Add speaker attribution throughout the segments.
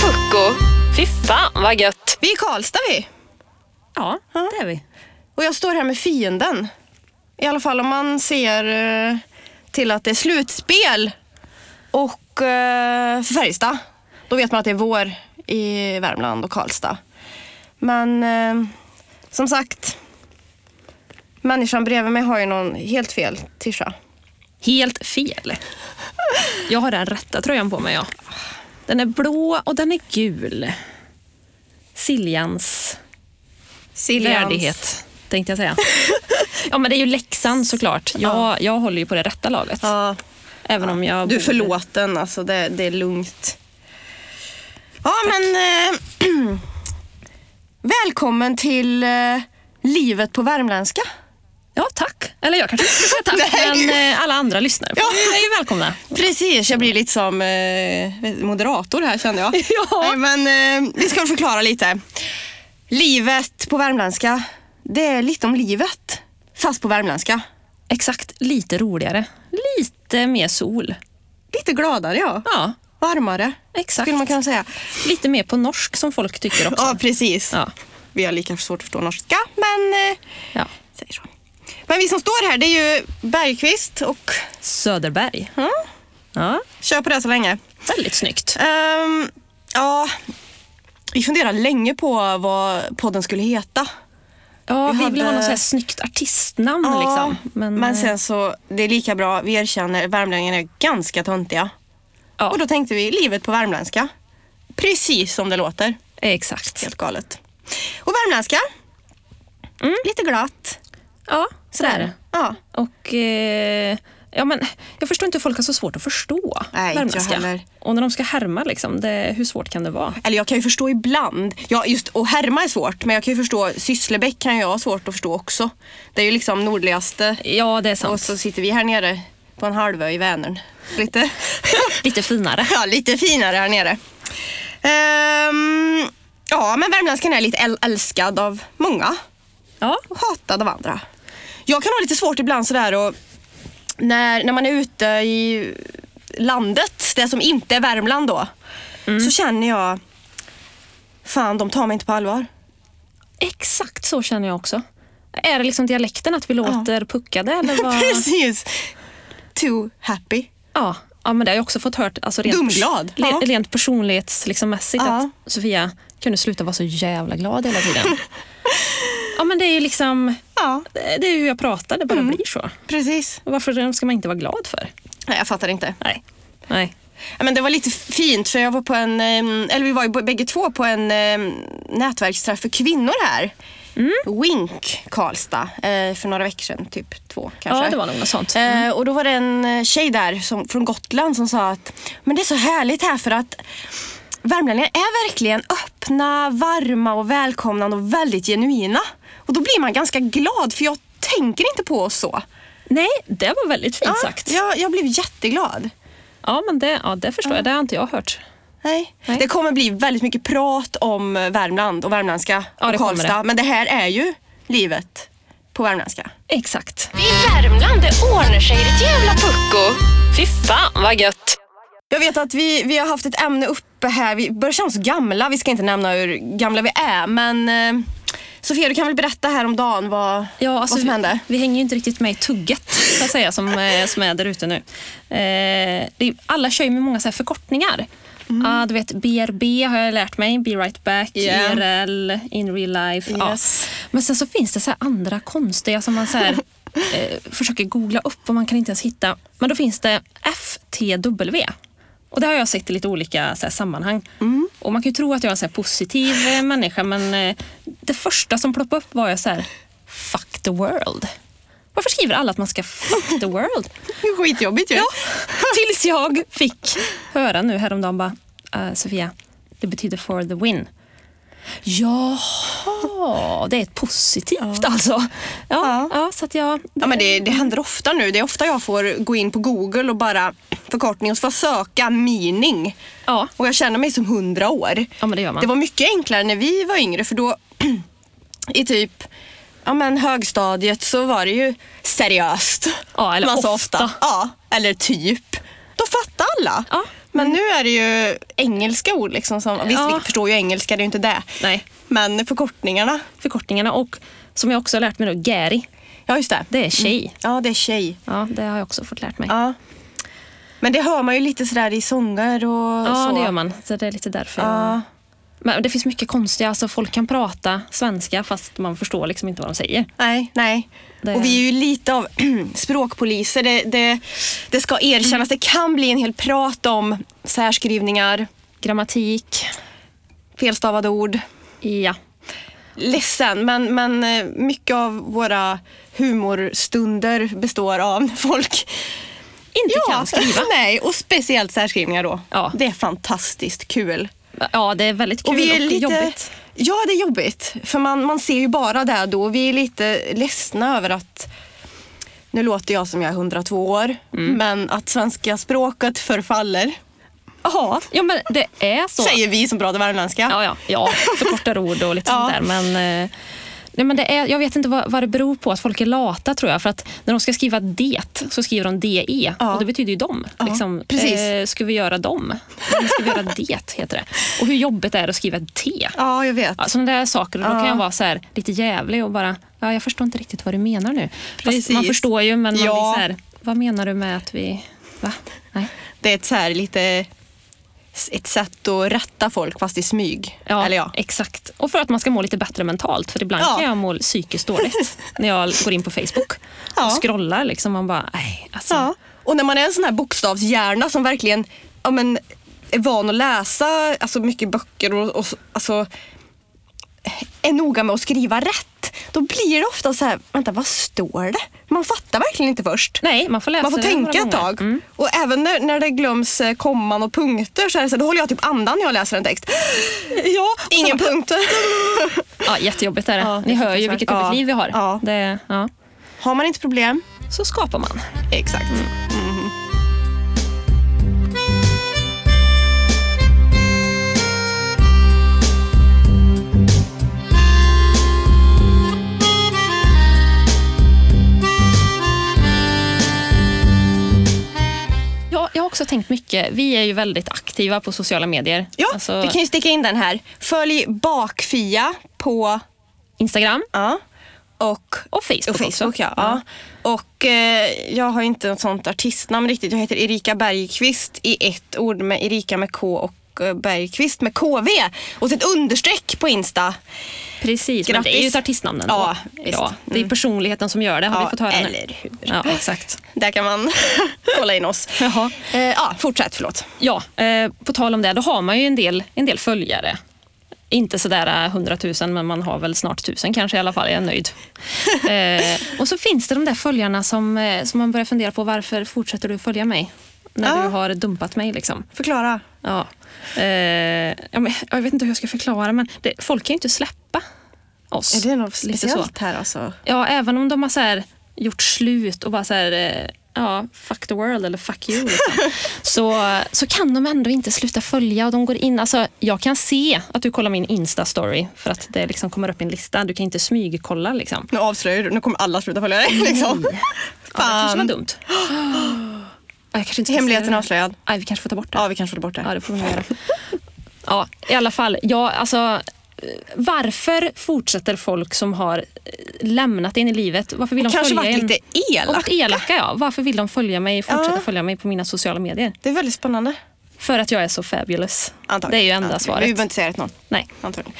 Speaker 1: Coco. Fy fan vad gött.
Speaker 2: Vi är i Karlstad vi.
Speaker 3: Ja, det är vi.
Speaker 2: Och jag står här med fienden. I alla fall om man ser eh, till att det är slutspel och eh, för Färjestad. Då vet man att det är vår i Värmland och Karlstad. Men eh, som sagt, människan bredvid mig har ju någon helt fel tisha.
Speaker 3: Helt fel. Jag har den rätta tröjan på mig. Ja. Den är blå och den är gul. Siljans
Speaker 2: Siljans.
Speaker 3: värdighet, tänkte jag säga. Ja, men det är ju läxan såklart. Jag, jag håller ju på det rätta laget.
Speaker 2: Ja,
Speaker 3: Även om jag...
Speaker 2: du är
Speaker 3: borde-
Speaker 2: förlåten, alltså det, det är lugnt. Ja, men eh, välkommen till eh, livet på värmländska.
Speaker 3: Ja, tack. Eller jag kanske inte ska säga tack,
Speaker 2: Nej.
Speaker 3: men eh, alla andra lyssnare
Speaker 2: Ja.
Speaker 3: Ni är ju välkomna.
Speaker 2: Precis, jag blir lite som eh, moderator här kände jag.
Speaker 3: Ja.
Speaker 2: Nej, men eh, vi ska väl förklara lite. Livet på värmländska, det är lite om livet. Fast på värmländska.
Speaker 3: Exakt, lite roligare. Lite mer sol.
Speaker 2: Lite gladare ja.
Speaker 3: Ja,
Speaker 2: Varmare,
Speaker 3: exakt.
Speaker 2: skulle man kunna säga.
Speaker 3: Lite mer på norsk som folk tycker också.
Speaker 2: Ja, precis.
Speaker 3: Ja.
Speaker 2: Vi har lika svårt att förstå norska, men eh,
Speaker 3: Ja.
Speaker 2: säger så. Men vi som står här, det är ju Bergqvist och
Speaker 3: Söderberg.
Speaker 2: ja,
Speaker 3: Ja,
Speaker 2: kör på det så länge.
Speaker 3: väldigt snyggt.
Speaker 2: Ehm, ja, vi funderade länge på vad podden skulle heta.
Speaker 3: Ja, vi,
Speaker 2: Vi
Speaker 3: vill ha
Speaker 2: hade-
Speaker 3: något så här snyggt artistnamn. liksom.
Speaker 2: men, sen så, det är lika bra, vi erkänner, värmlänningarna är ganska töntiga.
Speaker 3: Ja.
Speaker 2: Och då tänkte vi, livet på värmländska. Precis som det låter.
Speaker 3: eh, Exakt.
Speaker 2: Helt galet. Och värmländska, lite glatt.
Speaker 3: Ja, sådär.
Speaker 2: Ja,
Speaker 3: Och, eh, ja, men, jag förstår inte hur folk har så svårt att förstå
Speaker 2: Nej, inte jag
Speaker 3: värmländska.
Speaker 2: heller.
Speaker 3: Och när de ska härma, liksom, det, hur svårt kan det vara?
Speaker 2: Eller jag kan ju förstå ibland. Ja, just att härma är svårt, men jag kan ju förstå Sysslebäck kan jag ha svårt att förstå också. Det är ju liksom nordligaste
Speaker 3: Ja, det är sant.
Speaker 2: och så sitter vi här nere på en halvö i Vänern. Lite,
Speaker 3: Lite finare.
Speaker 2: ja, lite finare här nere. Ehm, ja, men värmländskan är lite äl- älskad av många
Speaker 3: Ja,
Speaker 2: och hatad av andra. Jag kan ha lite svårt ibland sådär och när, när man är ute i landet, det som inte är Värmland då,
Speaker 3: Mm.
Speaker 2: så känner jag Fan, de tar mig inte på allvar.
Speaker 3: exakt så känner jag också. Är det liksom dialekten att vi låter puckade? Eller vad?
Speaker 2: Precis! Too happy.
Speaker 3: Ja, ja, men det har jag också fått hört. Alltså rent
Speaker 2: Dumglad.
Speaker 3: le-
Speaker 2: Ja.
Speaker 3: Rent personlighetsmässigt liksom, mässigt
Speaker 2: Ja.
Speaker 3: att Sofia kunde sluta vara så jävla glad hela tiden. ja, men det är ju liksom...
Speaker 2: Ja,
Speaker 3: Det är ju hur jag pratar, det bara
Speaker 2: Mm.
Speaker 3: blir så.
Speaker 2: precis.
Speaker 3: Och Varför ska man inte vara glad för?
Speaker 2: Nej, jag fattar inte.
Speaker 3: Nej. Nej.
Speaker 2: Ja, Men det var lite fint för jag var på en, eh, eller vi var ju b- bägge två på en eh, nätverksträff för kvinnor här.
Speaker 3: Mm.
Speaker 2: Wink Karlstad eh, för några veckor sedan, typ två kanske.
Speaker 3: Ja, det var nog något sånt.
Speaker 2: Eh, och då var det en eh, tjej där som, från Gotland som sa att Men det är så härligt här för att värmlänningar är verkligen öppna, varma och välkomnande och väldigt genuina. Och då blir man ganska glad för jag tänker inte på oss så.
Speaker 3: Nej, det var väldigt fint sagt.
Speaker 2: Ja, jag, jag blev jätteglad.
Speaker 3: Ja, men det, ja, det förstår jag. Det har inte jag hört.
Speaker 2: Nej.
Speaker 3: Nej.
Speaker 2: Det kommer bli väldigt mycket prat om eh, Värmland och värmländska
Speaker 3: Ja, det
Speaker 2: och
Speaker 3: kommer
Speaker 2: Karlstad.
Speaker 3: det.
Speaker 2: Men det här är ju livet på värmländska.
Speaker 3: Exakt.
Speaker 1: Vi i Värmland, det ordnar sig ditt jävla pucko. Fy fan vad gött.
Speaker 2: Jag vet att vi, vi har haft ett ämne uppe här. Vi börjar känna oss gamla. Vi ska inte nämna hur gamla vi är. Men eh, Sofia, du kan väl berätta här om dagen vad,
Speaker 3: Ja, alltså,
Speaker 2: vad som
Speaker 3: vi-
Speaker 2: hände?
Speaker 3: Vi hänger ju inte riktigt med i tugget så att säga, som, eh, som är där ute nu. Eh, det är, alla kör ju med många så här förkortningar.
Speaker 2: Mm.
Speaker 3: Ah, du vet BRB har jag lärt mig, Be Right Back,
Speaker 2: Yeah.
Speaker 3: IRL, In Real Life. ja.
Speaker 2: Yes.
Speaker 3: Men sen så finns det så här andra konstiga som man så här, eh, försöker googla upp och man kan inte ens hitta. Men då finns det FTW. Och det har jag sett i lite olika så här, sammanhang. Och man kan ju tro att jag är en så här, positiv eh, människa men eh, det första som ploppade upp var jag så här, fuck the world. Varför skriver alla att man ska fuck the world?
Speaker 2: Det är Skitjobbigt ju. Ja.
Speaker 3: Tills jag fick höra nu häromdagen bara, "Eh, Sofia, det betyder for the win. Jaha, det är ett positivt alltså. Ja, ja. så att jag...
Speaker 2: men det, det händer ofta nu. Det är ofta jag får gå in på Google och bara förkortning och så får jag söka meaning.
Speaker 3: Ja,
Speaker 2: Och jag känner mig som hundra år.
Speaker 3: ja men det gör man.
Speaker 2: Det var mycket enklare när vi var yngre för då i typ ja, men högstadiet så var det ju seriöst.
Speaker 3: Ja, eller
Speaker 2: Man sa
Speaker 3: ofta.
Speaker 2: Ja, eller typ. Då fattade alla.
Speaker 3: Ja.
Speaker 2: Men nu är det ju engelska ord. Liksom som, Visst,
Speaker 3: Ja.
Speaker 2: vi förstår ju engelska, det är ju inte det.
Speaker 3: Nej,
Speaker 2: Men förkortningarna.
Speaker 3: förkortningarna och som jag också har lärt mig nu, Gary,
Speaker 2: Ja, just det. Mm.
Speaker 3: det är tjej.
Speaker 2: Ja, det är tjej.
Speaker 3: Ja, det har jag också fått lärt mig.
Speaker 2: Ja. Men det hör man ju lite sådär i sånger och
Speaker 3: Ja,
Speaker 2: så.
Speaker 3: det gör man. Så det är lite därför. Jag...
Speaker 2: Ja.
Speaker 3: Men det finns mycket konstiga, alltså folk kan prata svenska fast man förstår liksom inte vad de säger.
Speaker 2: Nej, nej.
Speaker 3: Det-
Speaker 2: Och vi är ju lite av språkpoliser. Det, det, det ska erkännas. Det kan bli en hel prat om särskrivningar,
Speaker 3: Grammatik,
Speaker 2: felstavade ord.
Speaker 3: ja.
Speaker 2: Ledsen, men, men eh, mycket av våra humorstunder består av när folk
Speaker 3: Inte kan skriva.
Speaker 2: Nej, och speciellt särskrivningar då.
Speaker 3: Ja.
Speaker 2: Det är fantastiskt kul.
Speaker 3: Ja, det är väldigt kul och, jobbigt.
Speaker 2: Ja, det är jobbigt. För man, man ser ju bara det då. Vi är lite ledsna över att nu låter jag som jag är 102 år,
Speaker 3: Mm.
Speaker 2: men att svenska språket förfaller. Ja,
Speaker 3: Ja, men det är så.
Speaker 2: säger vi som pratar värmländska.
Speaker 3: Ja, ja, ja förkortar ord och lite
Speaker 2: Ja.
Speaker 3: sånt där. Men, eh, nej, men det är, jag vet inte vad, vad det beror på att folk är lata tror jag. För att när de ska skriva det så skriver de de
Speaker 2: Ja.
Speaker 3: och det betyder ju dem.
Speaker 2: Ja,
Speaker 3: liksom,
Speaker 2: precis.
Speaker 3: eh, ska vi göra dem? Men ska vi göra det heter det. Och hur jobbigt det är att skriva ett T.
Speaker 2: Ja, jag vet.
Speaker 3: Ja, sådana där saker. Och då kan
Speaker 2: Ja.
Speaker 3: jag vara så här, lite jävlig och bara, ja, jag förstår inte riktigt vad du menar nu. Fast
Speaker 2: Precis.
Speaker 3: man förstår ju, men man
Speaker 2: Ja.
Speaker 3: blir så här, vad menar du med att vi... Va? Nej.
Speaker 2: Det är ett, så här, lite, ett sätt att rätta folk, fast i smyg.
Speaker 3: Ja,
Speaker 2: Eller ja.
Speaker 3: exakt. Och för att man ska må lite bättre mentalt. För ibland
Speaker 2: Ja.
Speaker 3: kan jag må psykiskt dåligt när jag går in på Facebook
Speaker 2: Ja.
Speaker 3: och scrollar. Liksom, man bara, nej, alltså.
Speaker 2: Ja. Och när man är en sån här bokstavshjärna som verkligen ja, men, är van att läsa alltså mycket böcker och, och alltså, är noga med att skriva rätt. Då blir det ofta så här, vänta vad står det? Man fattar verkligen inte först.
Speaker 3: Nej, man får läsa
Speaker 2: Man får
Speaker 3: det
Speaker 2: tänka
Speaker 3: några
Speaker 2: ett
Speaker 3: gånger.
Speaker 2: tag.
Speaker 3: Mm.
Speaker 2: Och även när, när det glöms eh, komman och punkter så, är det så här, då håller jag typ andan när jag läser en text. Ja, Ingen punkt.
Speaker 3: Ja, jättejobbigt är det.
Speaker 2: Ja,
Speaker 3: Ni hör ju vilket jobbigt
Speaker 2: ja.
Speaker 3: liv vi har.
Speaker 2: Ja.
Speaker 3: Det, ja.
Speaker 2: Har man inte problem?
Speaker 3: Så skapar man.
Speaker 2: Exakt. mm.
Speaker 3: Ja, jag har också tänkt mycket. Vi är ju väldigt aktiva på sociala medier.
Speaker 2: Ja,
Speaker 3: Alltså,
Speaker 2: vi kan ju sticka in den här. Följ bakfia på
Speaker 3: Instagram
Speaker 2: Ja. Och,
Speaker 3: och Facebook,
Speaker 2: och Facebook,
Speaker 3: också.
Speaker 2: ja. ja. Och eh, jag har inte något sånt artistnamn riktigt. Jag heter Erika Bergqvist i ett ord med Erika med K och eh, Bergqvist med KV. Och så ett understreck på Insta.
Speaker 3: Precis, men det är ju
Speaker 2: Grattis.
Speaker 3: ett artistnamn ändå.
Speaker 2: Ja, visst.
Speaker 3: ja, det är personligheten som gör det, har
Speaker 2: Ja,
Speaker 3: vi fått höra nu.
Speaker 2: eller hur.
Speaker 3: Ja, exakt.
Speaker 2: Där kan man kolla in oss.
Speaker 3: Jaha.
Speaker 2: Eh, ja, fortsätt, förlåt.
Speaker 3: Ja, eh, på tal om det, då har man ju en del, en del följare. Inte sådär eh, 100 000, men man har väl snart 1000 kanske i alla fall. Jag är nöjd. eh, och så finns det de där följarna som, eh, som man börjar fundera på, varför fortsätter du följa mig? När
Speaker 2: Ja.
Speaker 3: du har dumpat mig liksom.
Speaker 2: Förklara.
Speaker 3: Ja. Eh, ja, men, jag vet inte hur jag ska förklara, men det, folk kan ju inte släppa oss.
Speaker 2: Är det något
Speaker 3: Lite så.
Speaker 2: speciellt här alltså?
Speaker 3: Ja, även om de har så här gjort slut och bara så här, eh, ja, fuck the world eller fuck you. Liksom. så, så kan de ändå inte sluta följa och de går in. Alltså, jag kan se att du kollar min Insta-story för att det liksom kommer upp i en lista. Du kan inte smygkolla liksom.
Speaker 2: Nu avslöjar du, nu kommer alla sluta följa dig. Liksom.
Speaker 3: Ja, det kanske var
Speaker 2: Fan.
Speaker 3: dumt. Ja, jag kanske inte ska
Speaker 2: Hemligheten
Speaker 3: säga det.
Speaker 2: avslöjad.
Speaker 3: Nej, vi kanske får ta bort det.
Speaker 2: Ja, vi kanske får bort det.
Speaker 3: Ja, det får vi nog göra. Ja, i alla fall. Ja, alltså, eh, varför fortsätter folk som har eh, lämnat en i livet? Varför vill de
Speaker 2: Kanske
Speaker 3: följa
Speaker 2: varit
Speaker 3: en?
Speaker 2: lite
Speaker 3: Och
Speaker 2: elak.
Speaker 3: varit elaka, ja. Varför vill de följa mig, fortsätta
Speaker 2: Ja.
Speaker 3: följa mig på mina sociala medier?
Speaker 2: Det är väldigt spännande.
Speaker 3: För att jag är så fabulous.
Speaker 2: Antagligen.
Speaker 3: Det är ju enda
Speaker 2: Antagligen. Vi
Speaker 3: svaret.
Speaker 2: behöver inte säga det till någon.
Speaker 3: Nej.
Speaker 2: antagligen.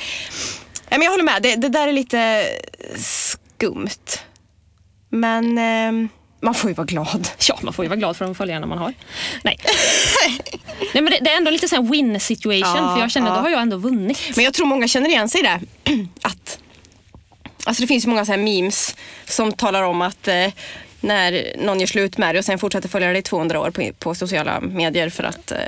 Speaker 2: Nej, men jag håller med, det, det där är lite skumt. Men ehm, man får ju vara glad.
Speaker 3: Ja, man får ju vara glad för de följarna man har. Nej. Nej men det, det är ändå lite sån här win situation,
Speaker 2: Ja,
Speaker 3: för jag känner
Speaker 2: ja.
Speaker 3: då har jag ändå vunnit.
Speaker 2: Men jag tror många känner igen sig i det. Att, alltså det finns ju många så här memes som talar om att eh, när någon gör slut med dig och sen fortsätter följa dig i 200 år på, på sociala medier för att eh,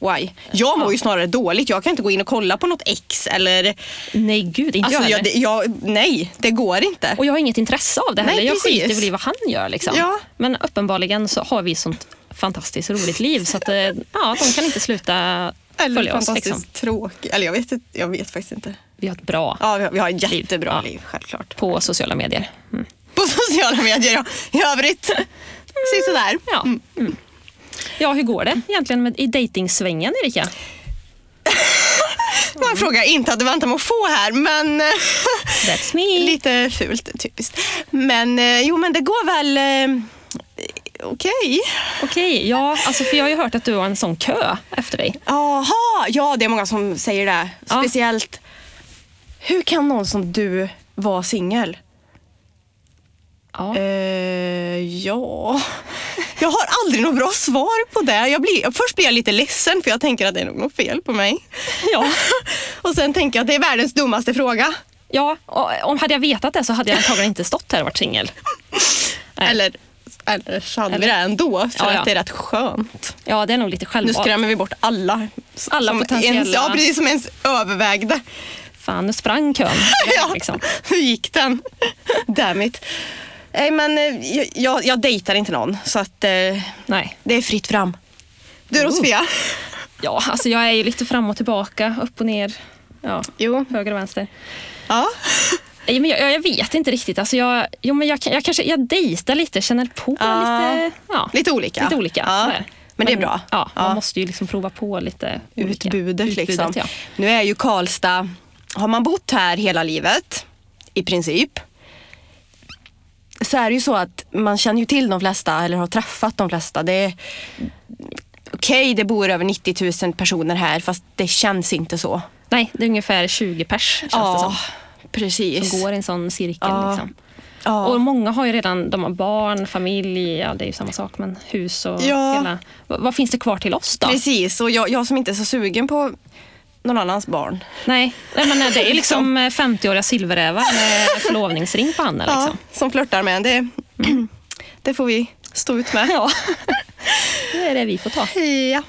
Speaker 2: why? Jag mår ju snarare dåligt. Jag kan inte gå in och kolla på något ex eller...
Speaker 3: Nej gud, inte
Speaker 2: Alltså,
Speaker 3: jag,
Speaker 2: jag,
Speaker 3: heller.
Speaker 2: det- jag, nej, det går inte.
Speaker 3: Och jag har inget intresse av det
Speaker 2: Nej,
Speaker 3: heller. jag
Speaker 2: precis.
Speaker 3: skiter väl i vad han gör. Liksom.
Speaker 2: Ja.
Speaker 3: Men uppenbarligen så har vi sånt fantastiskt roligt liv så att, eh, ja, de kan inte sluta
Speaker 2: Eller
Speaker 3: följa oss.
Speaker 2: fantastiskt
Speaker 3: Liksom.
Speaker 2: tråkigt. Eller jag vet, inte- jag vet faktiskt inte.
Speaker 3: Vi har ett bra
Speaker 2: Ja, vi har, vi har jättebra
Speaker 3: Ja.
Speaker 2: liv, självklart.
Speaker 3: på sociala medier. Mm.
Speaker 2: På sociala medier, ja. I övrigt, mm. sådär.
Speaker 3: Ja. Mm. Ja, hur går det egentligen med, i dejtingsvängen Erika?
Speaker 2: Det var en fråga jag inte hade väntat mig att få här, men
Speaker 3: That's me.
Speaker 2: lite fult typiskt. Men eh, jo, men det går väl eh, okej.
Speaker 3: Okej, ja, alltså, för jag har ju hört att du har en sån kö efter dig.
Speaker 2: Jaha, ja det är många som säger det.
Speaker 3: Ja.
Speaker 2: Speciellt, hur kan någon som du vara singel?
Speaker 3: Ja.
Speaker 2: Eh, ja, jag har aldrig något bra svar på det. Jag blir, först blir jag lite ledsen för jag tänker att det är nog något fel på mig.
Speaker 3: Ja.
Speaker 2: Och sen tänker jag att det är världens dummaste fråga.
Speaker 3: Ja, och om hade jag vetat det så hade jag antagligen inte stått här och varit singel. Nej.
Speaker 2: Eller, eller så hade vi
Speaker 3: Eller-
Speaker 2: det ändå för
Speaker 3: Ja, ja.
Speaker 2: att det är rätt skönt.
Speaker 3: Ja, det är nog lite
Speaker 2: Nu
Speaker 3: självvalt.
Speaker 2: skrämmer vi bort alla.
Speaker 3: Alla
Speaker 2: som
Speaker 3: potentiella-
Speaker 2: Ens, ja, precis som ens övervägde.
Speaker 3: Fan, nu sprang kön.
Speaker 2: ja.
Speaker 3: liksom.
Speaker 2: Hur gick den? Damn it. Nej, men eh, jag, jag, jag dejtar inte någon, så att eh,
Speaker 3: Nej.
Speaker 2: det är fritt fram. Du då Sofia?
Speaker 3: Ja, alltså jag är ju lite fram och tillbaka, upp och ner, ja,
Speaker 2: Jo.
Speaker 3: höger och vänster.
Speaker 2: Ja.
Speaker 3: Nej, Men jag, jag- jag vet inte riktigt. Alltså jag, jo, men jag, kan- jag kanske jag dejtar lite, känner på
Speaker 2: Ja.
Speaker 3: lite. Ja,
Speaker 2: Lite olika.
Speaker 3: Lite olika
Speaker 2: Ja.
Speaker 3: sådär.
Speaker 2: Men det är bra.
Speaker 3: Ja, man
Speaker 2: Ja.
Speaker 3: måste ju liksom prova på lite olika.
Speaker 2: Utbudet, liksom.
Speaker 3: ja.
Speaker 2: Nu är ju Karlstad, har man bott här hela livet, i princip, så är det ju så att man känner ju till de flesta eller har träffat de flesta. Det är, Okej, det bor över 90 000 personer här fast det känns inte så.
Speaker 3: Nej, det är ungefär 20 pers känns det som.
Speaker 2: Ja, precis.
Speaker 3: Som går i en sån cirkel.
Speaker 2: Ja.
Speaker 3: Liksom.
Speaker 2: Ja.
Speaker 3: Och många har ju redan de har barn, familj, ja, det är ju samma sak, men hus och
Speaker 2: Ja.
Speaker 3: hela. Vad, vad finns det kvar till oss då?
Speaker 2: Precis, och jag, jag som inte är så sugen på någon annans barn.
Speaker 3: Nej, nej, men det är liksom eh, 50-åriga silverrävar med förlovningsring på handen. Liksom.
Speaker 2: som flörtar med en, det, det får vi stå ut med.
Speaker 3: Ja. Det är det vi får ta.
Speaker 2: Ja.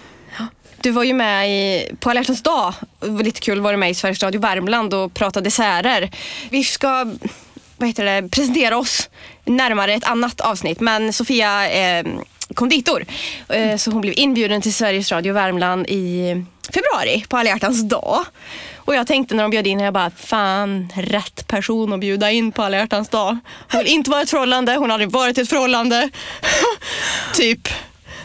Speaker 2: Du var ju med i, på Alla hjärtans dag, det var lite kul, var du med i Sveriges Radio Värmland och pratade desserter. Vi ska vad heter det, presentera oss närmare ett annat avsnitt, men Sofia eh, är konditor. Eh, Så hon blev inbjuden till Sveriges Radio Värmland i februari på Alla hjärtans dag. Och jag tänkte när de bjöd in henne, jag bara, fan rätt person att bjuda in på Alla hjärtans dag. Hon vill inte vara i ett förhållande, hon har aldrig varit i ett förhållande. typ.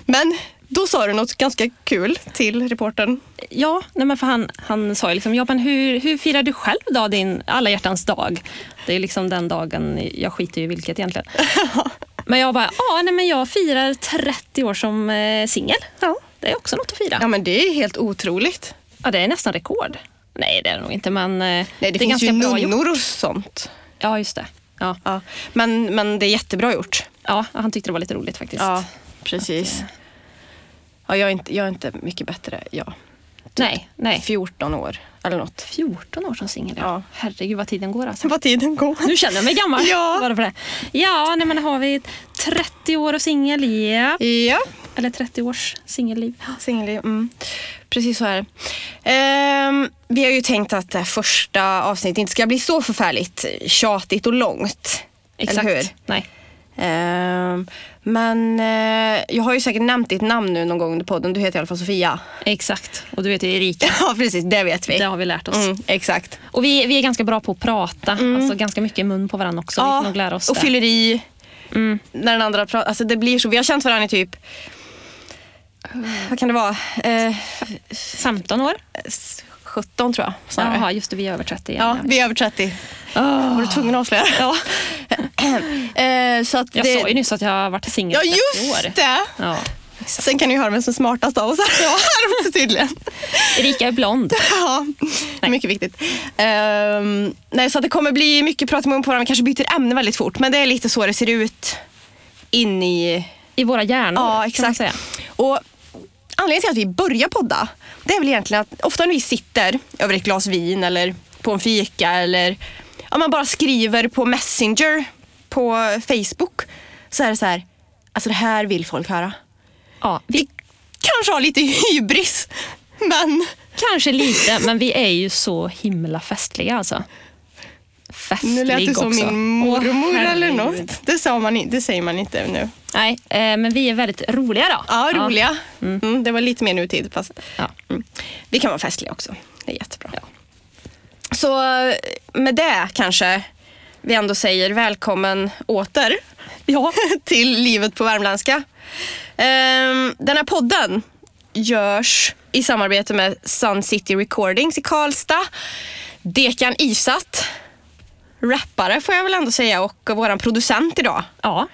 Speaker 2: Men då sa du något ganska kul till reportern.
Speaker 3: Ja, nej, men för han, han sa ju liksom, ja, men hur, hur firar du själv då din alla hjärtans dag? Det är liksom den dagen, jag skiter ju i vilket egentligen. Men jag bara, ja, nej, men jag firar 30 år som eh, singel.
Speaker 2: Ja.
Speaker 3: Det är också något att fira.
Speaker 2: Ja men det är helt otroligt.
Speaker 3: Ja, det är nästan rekord. Nej, det är det nog inte, men eh,
Speaker 2: Nej, det,
Speaker 3: är
Speaker 2: finns ju
Speaker 3: ganska bra gjort.
Speaker 2: nunnor och sånt.
Speaker 3: Ja, just det. Ja.
Speaker 2: Ja. Men, men det är jättebra gjort.
Speaker 3: ja, han tyckte det var lite roligt faktiskt.
Speaker 2: Ja,
Speaker 3: eh,
Speaker 2: precis. Ja, jag, är inte, jag är inte mycket bättre. Ja.
Speaker 3: Nej, nej.
Speaker 2: 14 år eller något.
Speaker 3: 14 år som singel, ja.
Speaker 2: Ja.
Speaker 3: Herregud vad tiden går alltså.
Speaker 2: Vad tiden går.
Speaker 3: Nu känner jag mig gammal.
Speaker 2: Ja.
Speaker 3: Bara för det. Ja, nej, men har vi 30 år och singel, ja.
Speaker 2: Ja,
Speaker 3: Eller 30 års singelliv.
Speaker 2: singelliv. Mm. Precis så är det. Ehm, vi har ju tänkt att det här första avsnittet inte ska bli så förfärligt tjatigt och långt.
Speaker 3: Exakt.
Speaker 2: Eller hur?
Speaker 3: Nej.
Speaker 2: Ehm, men eh, jag har ju säkert nämnt ditt namn nu någon gång under podden. Du heter i alla fall Sofia.
Speaker 3: Exakt. Och du heter Erika.
Speaker 2: Ja, precis. Det vet vi.
Speaker 3: Det har vi lärt oss.
Speaker 2: Mm, exakt.
Speaker 3: Och vi, vi är ganska bra på att prata. Alltså ganska mycket mun på varandra också. vi får nog lära oss
Speaker 2: och
Speaker 3: det.
Speaker 2: fyller i.
Speaker 3: Mm.
Speaker 2: När den andra pratar. Alltså det blir så. Vi har känt varandra i typ, vad kan det vara? Eh,
Speaker 3: 15 år?
Speaker 2: 17 tror jag. snarare.
Speaker 3: Jaha, just det. Vi är över 30 igen.
Speaker 2: Ja, vi är över 30.
Speaker 3: Åh.
Speaker 2: Var du tvungen att avslöja? Ja. Eh, så att
Speaker 3: Jag
Speaker 2: det...
Speaker 3: sa ju nyss att jag har varit singel
Speaker 2: Ja,
Speaker 3: i 30
Speaker 2: just
Speaker 3: år.
Speaker 2: det!
Speaker 3: Ja.
Speaker 2: Sen kan ni ju höra vem som är smartast av oss här ja. tydligen.
Speaker 3: Erika är blond.
Speaker 2: Ja, mycket viktigt. Ehm, nej, så att det kommer bli mycket prat i mun på varandra. Vi kanske byter ämne väldigt fort, men det är lite så det ser ut in i...
Speaker 3: I våra hjärnor.
Speaker 2: Ja,
Speaker 3: Kan man
Speaker 2: exakt.
Speaker 3: säga.
Speaker 2: Och anledningen till att vi börjar podda, det är väl egentligen att ofta när vi sitter över ett glas vin eller på en fika eller om man bara skriver på Messenger på Facebook så är det så här, alltså det här vill folk höra.
Speaker 3: Ja, vi
Speaker 2: Vi kanske har lite hybris, men
Speaker 3: Kanske lite, men vi är ju så himla festliga alltså. Festlig
Speaker 2: Nu lät du som
Speaker 3: också.
Speaker 2: min mormor
Speaker 3: Åh,
Speaker 2: eller
Speaker 3: herregud.
Speaker 2: något. Det, sa man, in- det säger man inte nu.
Speaker 3: Nej, eh, men vi är väldigt roliga då.
Speaker 2: Ja, roliga. Mm, det var lite mer nutid. Fast,
Speaker 3: Ja.
Speaker 2: mm. Vi kan vara festliga också. Det är jättebra. Så eh, med det kanske vi ändå säger välkommen åter
Speaker 3: Ja.
Speaker 2: till livet på värmländska. Eh, Ehm, den här podden görs i samarbete med Sun City Recordings i Karlstad. Dekan Isat, rappare får jag väl ändå säga och våran producent idag.
Speaker 3: Ja.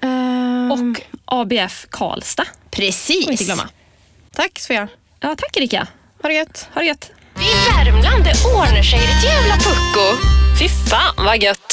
Speaker 2: Ehm,
Speaker 3: Och ABF Karlstad.
Speaker 2: precis.
Speaker 3: Får vi inte glömma.
Speaker 2: Tack Svea.
Speaker 3: Ja, tack Erika.
Speaker 2: Ha det gött.
Speaker 3: Ha det gött.
Speaker 1: I Värmland, det ordnar sig ett jävla pucko. Fy fan vad gött!